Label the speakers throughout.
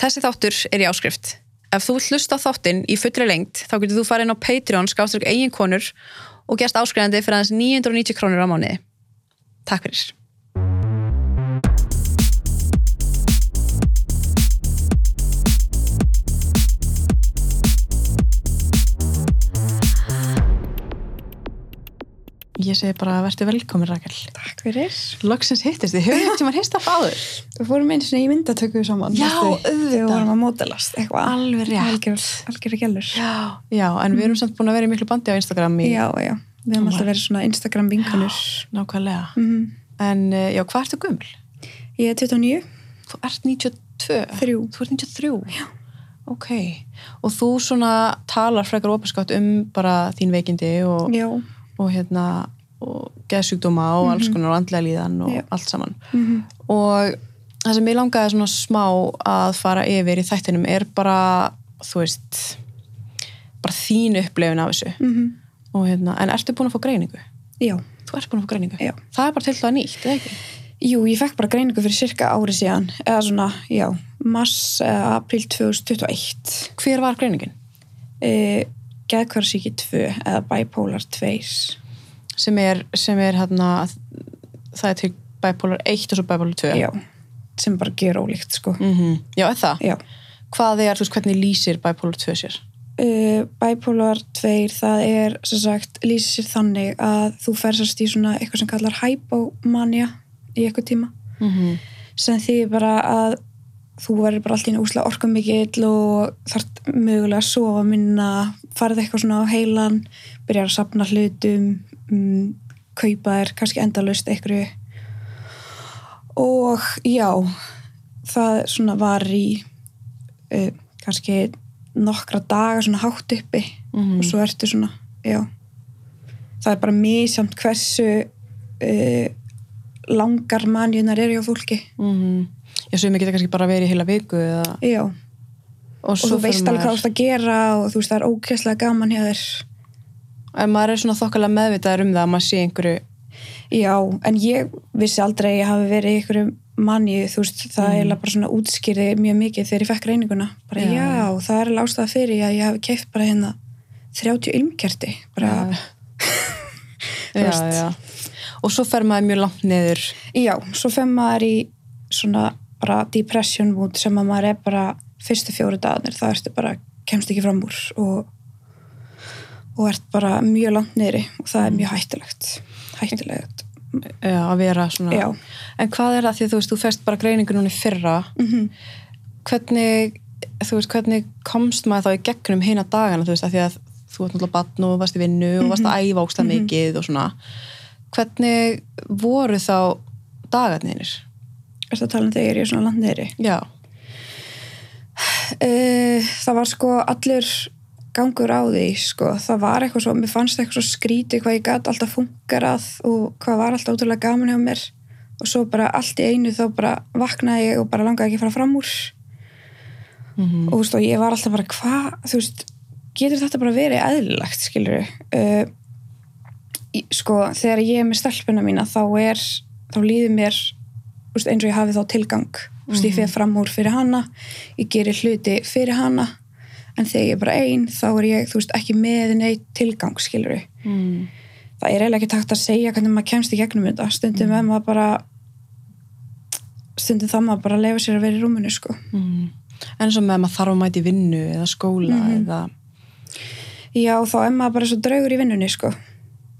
Speaker 1: Þessi þáttur er í áskrift. Ef þú vill hlusta á þáttinn í fullri lengt, þá getur þú farið inn á Patreon skástrík eiginkonur og gerst áskrifandi fyrir aðeins 990 krónur á mánuði. Takk fyrir.
Speaker 2: Ég segi bara að verði velkomin Rakel
Speaker 3: Takk fyrir.
Speaker 2: Loksins hittist, þið höfum ekki maður hist af áður
Speaker 3: Við fórum einu sinni í myndatöku saman.
Speaker 2: Já,
Speaker 3: manstu? Þegar
Speaker 2: auðvitað.
Speaker 3: við vorum að mótelast eitthvað.
Speaker 2: Alveg rétt.
Speaker 3: Algjör, algjör gælur. Já, Mhm.
Speaker 2: Já, en við erum samt búin að vera í miklu bandi á Instagram í
Speaker 3: já. Við hefum alltaf verið svona Instagram vinkunir.
Speaker 2: nákvæmlega
Speaker 3: Mm.
Speaker 2: En eh, já, hvað ertu gömul?
Speaker 3: Ég er 29,
Speaker 2: Þú ert 92
Speaker 3: Þrjú.
Speaker 2: Þú ert 93 Já Ok, og þú svona talar frekar opinskátt um bara þín veikindi og,
Speaker 3: já.
Speaker 2: og hérna og geðsjúkdóma og alls konar og andlega líðan og
Speaker 3: Mhm. Já.
Speaker 2: allt saman
Speaker 3: Mm
Speaker 2: og það sem ég langaði svona smá að fara yfir í þættinum er bara, þú veist bara þín upplifun af þessu og hérna, en ertu búin að fá greiningu?
Speaker 3: Mhm. Já.
Speaker 2: Þú ert búin að fá greiningu?
Speaker 3: Já.
Speaker 2: Það er bara til það nýtt, eða ekki?
Speaker 3: Jú, ég fekk bara greiningu fyrir cirka ári síðan, eða svona, já, mars, eða april 2021.
Speaker 2: Hver var greiningin?
Speaker 3: E, Geðkvarsíki 2 eða bipolar 2.
Speaker 2: Sem er, sem er hérna það er til bipolar 1 og svo bipolar 2
Speaker 3: Já. Sem bara gera ólíkt, sko.
Speaker 2: Mhm. Já, er það?
Speaker 3: Já.
Speaker 2: Hvað er, þú veist, hvernig lýsir bipolar 2 sér?
Speaker 3: uh, bipolar 2 það er sem sagt lýsir sér þannig að þú fersast í svona eitthvað sem kallar hypomania í eitthvað tíma
Speaker 2: Mm
Speaker 3: Mhm.
Speaker 2: -hmm.
Speaker 3: sem þýðir bara að þú verður bara alltaf í úsla orka mikill og þart mögulega að sofa minna farið eitthvað svona á heilan byrjar að sapna hlutum um, kaupa þér kannski endalaust einhverju og já það svona var í uh, kannski nokkra daga svona hátt uppi
Speaker 2: Mm.
Speaker 3: og svo ertu svona, já það er bara misjamt hversu uh, langar manjunar eru hjá fólki
Speaker 2: Mm
Speaker 3: Mhm.
Speaker 2: Já, sem ég geta kannski bara verið í heila viku eða,
Speaker 3: já og
Speaker 2: svo
Speaker 3: þú
Speaker 2: fer
Speaker 3: veist alveg hvað
Speaker 2: maður-
Speaker 3: þú ert að gera og þú veist það er ókesslega gaman hjá þér
Speaker 2: ef maður er svona þokkalega meðvitaður um það að maður sé einhverju
Speaker 3: já, en ég vissi aldrei að ég hafi verið í einhverju manni, þú veist það mm. er bara svona útskýrði mjög mikið þegar ég fekk reyninguna bara
Speaker 2: Já.
Speaker 3: já, það er alveg ástæða fyrir að ég hafi keift bara hérna 30 ilmkerti bara,
Speaker 2: já,
Speaker 3: Þú
Speaker 2: já,
Speaker 3: veist.
Speaker 2: já. og svo fer maður mjög langt niður
Speaker 3: já, svo fem maður í svona bara depression mood sem að maður er bara fyrstu fjóru dagarnir, það ertu bara kemst ekki fram úr og og ert bara mjög langt niðri og það er mjög hættulegt hættulegt,
Speaker 2: já, eh, að vera svona
Speaker 3: já
Speaker 2: en hvað er það því að þú veist, þú fest bara greiningu núna í fyrra
Speaker 3: Mhm.
Speaker 2: hvernig, þú veist, hvernig komst maður þá í gegnum hina dagana þú veist, að því að þú ert náttúrulega batn og varst í vinnu og varst að æfa ógsta mikið og svona hvernig voru þá dagarnir
Speaker 3: Ertu að tala um þegar ég er svona langt neyri?
Speaker 2: já,
Speaker 3: Uh, það var sko allir gangur á því, sko. Það var eitthvað svo, mér fannst eitthvað svo skrítið hvað ég gæti alltaf fungarað og hvað var alltaf ótrúlega gaman hjá mér. Og svo bara allt í einu þá bara vaknaði ég og bara langaði ekki að fara fram úr.
Speaker 2: Mhm.
Speaker 3: Og þú veist, og ég var alltaf bara, hvað, þú veist, getur þetta bara verið eðlilegt, skilur við? sko, þegar ég er með stelpuna mína, þá er, þá líður mér, þú veist, eins og ég hafi þá tilgang. Þú veist, ég fer fram úr fyrir hana, ég gerir hluti fyrir hana, en þegar ég er bara ein, þá er ég, þú veist, ekki með neitt tilgang, skilur við?
Speaker 2: mm.
Speaker 3: það er eiginlega ekki takt að segja hvernig maður kemst í gegnum þetta stundum mm. maður bara stundum þá maður bara leifa sér að vera í rúminu sko.
Speaker 2: Mm. en svo með að maður þarf að mæti vinnu eða skóla
Speaker 3: Mhm.
Speaker 2: eða
Speaker 3: já þá er maður bara svo draugur í vinnunni sko.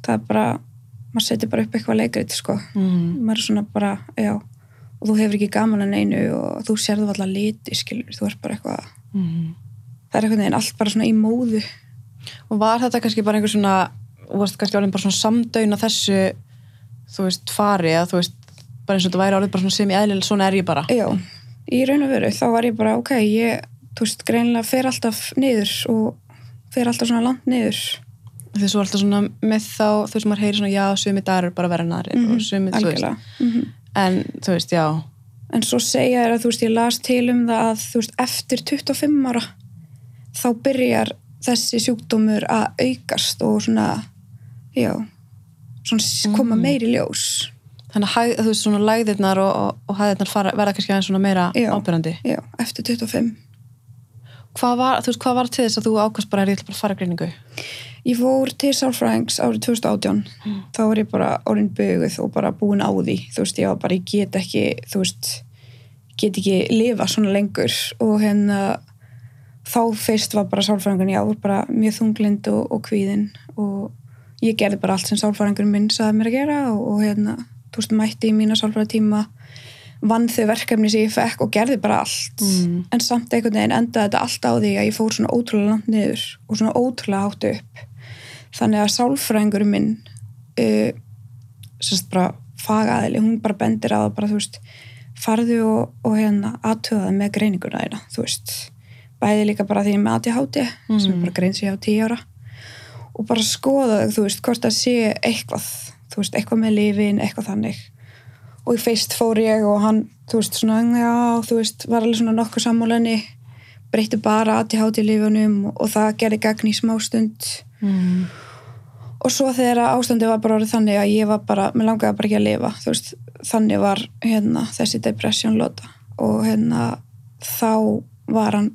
Speaker 3: það er bara maður setur bara upp eitthvað leikrit sko.
Speaker 2: mm.
Speaker 3: maður er svona bara, já og þú hefur ekki gaman að neinu og þú sérðu alltaf liti skilur, þú ert bara eitthvað
Speaker 2: Mm.
Speaker 3: það er eitthvað neginn allt bara svona í móðu
Speaker 2: og var þetta kannski bara einhver svona og varst kannski alveg bara svona samdöin að þessu þú veist fari eða þú veist bara eins og þetta væri alveg bara svona sem ég eðlilega svona er ég bara
Speaker 3: já, í raun og veru þá var ég bara, ok, ég þú veist, greinilega fer alltaf niður og fer alltaf svona langt niður
Speaker 2: því svo er alltaf svona með þá þú veist maður heyri svona já sumi dagar er bara verið en aðrir og sumi þú veist
Speaker 3: Mhm, algjörlega mm
Speaker 2: en þú veist já
Speaker 3: en svo segja þér að þú veist ég las til um það að þú veist eftir 25 ára þá byrjar þessi sjúkdómur að aukast og svona já, svona s- koma meiri ljós
Speaker 2: þannig að hæ- þú veist svona læðirnar og, og, og hæðirnar fara, verða kannski aðeins svona meira
Speaker 3: Já.
Speaker 2: ábyrjandi
Speaker 3: já, eftir 25
Speaker 2: hvað var, þú veist, hvað var til þess að þú ákast bara að ég ætla bara að fara að greiningu
Speaker 3: Ég fór til sálfræðings árið 2018 þá var ég bara orðin böguð og bara búin á því, þú veist, ég var bara ég get ekki, þú veist get ekki lifa svona lengur og hérna þá fyrst var bara sálfræðingun, já, var bara mjög þunglind og, og kvíðin og ég gerði bara allt sem sálfræðingun minn saði mér að gera og, og hérna, þú veist, mætti í mína sálfræðitíma vann þau verkefni sem ég fekk og gerði bara allt
Speaker 2: Mm.
Speaker 3: en samt einhvern veginn endaði þetta allt á því að ég fór svona ótrúlega langt niður og svona ótrúlega hátt upp þannig að sálfræðingur minn uh, sérst bara fagaðili, hún bara bendir á það bara þú veist, farðu og, og hérna aðtöðaði með greininguna þeirna þú veist, bæði líka bara því ég er með ADHD sem er bara grein sér á 10 ára og bara skoða þau, þú veist, hvort það sé eitthvað þú veist, eitthvað með lifin, eitthvað þannig og í fyrst fór ég og hann, þú veist, svona, já, þú veist, var alveg svona nokkuð sammúlenni, breytti bara ADHD í lifunum og, og það gerði gagn í smástund
Speaker 2: mm.
Speaker 3: og svo þegar ástandi var bara orðið þannig að ég var bara, mér langaði bara ekki að lifa, þú veist, þannig var hérna þessi depression lota og hérna þá var hann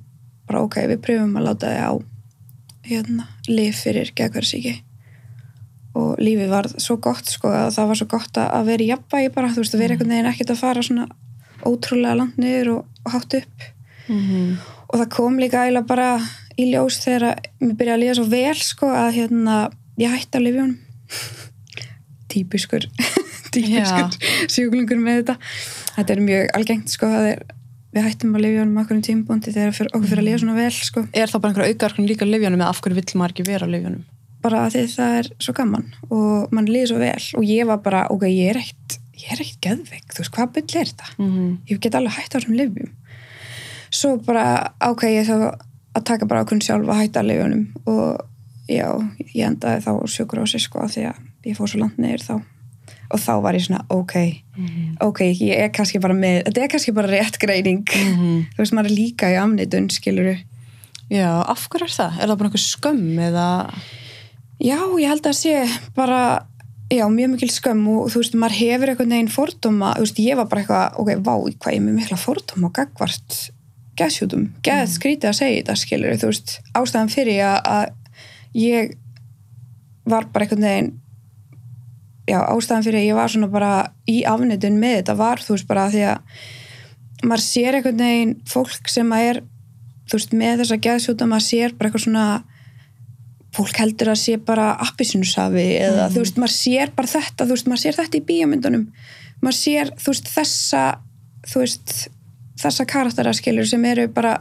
Speaker 3: bara ok, við pröfum að láta þig á hérna, lif fyrir geðkværsíki og lífið var svo gott sko að það var svo gott að- að vera í jafnvægi bara, þú veist, að vera einhvern veginn ekkert að fara svona ótrúlega langt niður og, og hátt upp og það kom líka eiginlega bara í ljós þegar að mér byrjaði að líða svo vel sko að hérna, ég hætti að lifi honum típiskur típiskur sjúklingur með þetta þetta er mjög algengt sko það er, við hættum að lifi honum okkur um tímbúndi þegar fyrir, okkur fyrir að líða svona vel sko
Speaker 2: er það bara einhverja aukaarkun líka á lyfjunum eða af hverju vill maður ekki vera á lyfjunum
Speaker 3: bara af því að það er svo gaman og mann líður svo vel og ég var bara, ok, ég er ekkert ég er ekkert geðveik, þú veist, hvað byll er þetta
Speaker 2: mm.
Speaker 3: ég get alveg hægt á þessum lifjum svo bara ákveð ég þá að taka bara okkur sjálf að hætta lifjunum og já, ég endaði þá sjökur á sig sko af því að ég fór svo langt neyður þá og þá var ég svona, ok ok, ég er kannski bara með þetta er kannski bara rétt greining þú veist, maður er líka í amnitun, skiluru
Speaker 2: já, af hverju er það? er það bara einhver skömm eða
Speaker 3: Já, ég held að sé bara, já, mjög mikil skömm og þú veist, maður hefur einhvern veginn fordóma, þú veist, ég var bara eitthvað, ok, vá, hvað ég er með mikla fordóma og gagvart geðsjútum, geð skrítið að segja þetta, skilur, þú veist, ástæðan fyrir að, að ég var bara einhvern veginn, já, ástæðan fyrir að ég var svona bara í afnitun með þetta var, þú veist, bara því að maður sér einhvern veginn fólk sem að er, þú veist, með þessa geðsjúta, maður sér bara eitthvað svona, fólk heldur að sé bara appisunsafi eða þú veist, maður sér bara þetta þú veist, maður sér þetta í bíómyndunum maður sér, þú veist, þessa þú veist, þessa karaktera skilur sem eru bara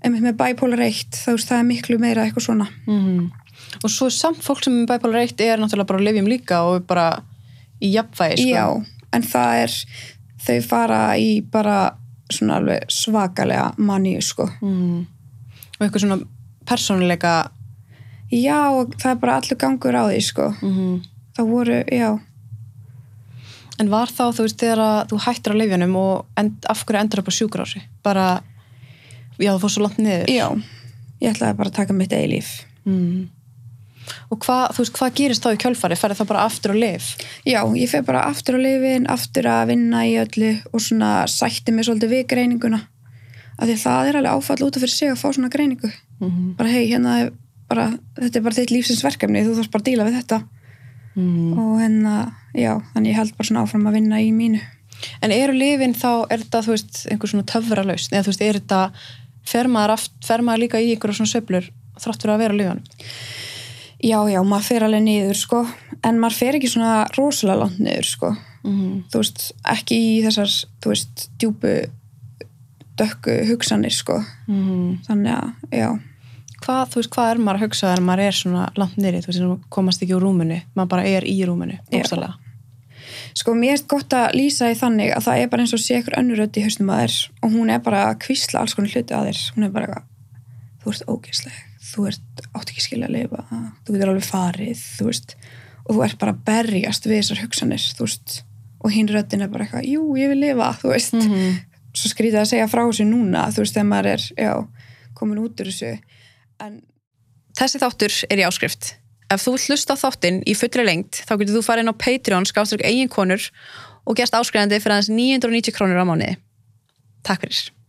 Speaker 3: einmitt með bipolar 1, þú veist, það er miklu meira eitthvað svona.
Speaker 2: og svo samt fólk sem er með bipolar 1 er náttúrulega bara á lyfjum líka og er bara í jafnvægi sko.
Speaker 3: Já, en það er þau fara í bara svona alveg svakalega maníu sko.
Speaker 2: mm. og eitthvað svona persónuleika
Speaker 3: Já, og það er bara allur gangur á því sko. Það voru, já,
Speaker 2: en var þá þú veist þegar að þú hættir á lyfjunum og end, af hverju endur upp á sjúkrási bara, já þú fór svo langt niður
Speaker 3: já ég ætlaði bara að taka mitt eigi líf.
Speaker 2: mm. og hvað, þú veist hvað gerist þá í kjölfari, ferði það bara aftur á lyf
Speaker 3: Já, ég fer bara aftur á lifin, aftur að vinna í öllu og svona sætti mig svolítið við greininguna. Af því að það er alveg áfall út af fyrir sig að fá svona greiningu.
Speaker 2: mm
Speaker 3: Bara hei, hérna er bara, þetta er bara þitt lífsins verkefni, þú þarfst bara að díla við þetta.
Speaker 2: -hmm.
Speaker 3: Og hérna, já, þannig ég held bara svona áfram að vinna í mínu.
Speaker 2: En eru lifin þá, er þetta, þú veist, einhver svona töfralaust? Eða þú veist, er þetta, fer maður, aft, fer maður líka í einhverja svona söflur þrátt fyrir að vera á lifunum?
Speaker 3: Já, já, maður fer alveg niður, sko, en maður fer ekki svona rosalega langt niður, sko.
Speaker 2: Mm
Speaker 3: Þú veist, ekki í þessar, þú veist, djúpu, dökku hugsanir, sko.
Speaker 2: -hmm.
Speaker 3: Þannig að, já,
Speaker 2: Hvað, þú veist, hvað er maður að hugsa þegar maður er svona langt nýri? Þú veist, þú komast ekki úr rúminu, maður bara er í rúminu,
Speaker 3: Já.
Speaker 2: bókstælega.
Speaker 3: sko mér er gott að lýsa í þannig að það er bara eins og sé ykkur önnurödd í hausnum að þér og hún er bara að kvísla alls konar hluti að þér hún er bara eitthvað, þú ert ógeðsleg þú ert átt ekki skilja að lifa þú getur alveg farið, þú veist og þú ert bara að berjast við þessar hugsanir þú veist, og hinn röddin er bara eitthvað jú, ég vil lifa, þú veist
Speaker 2: -hmm.
Speaker 3: svo skrítið að segja frá þessu núna, þú veist, þegar maður er já, komin út úr þessu en
Speaker 1: Þessi þáttur er í áskrift. Ef þú vilt hlusta á þáttinn í fullri lengt, þá getur þú farin á Patreon skástrík eiginkonur
Speaker 2: og gerst áskrifandi fyrir aðeins 990 krónur á mánuði. Takk fyrir.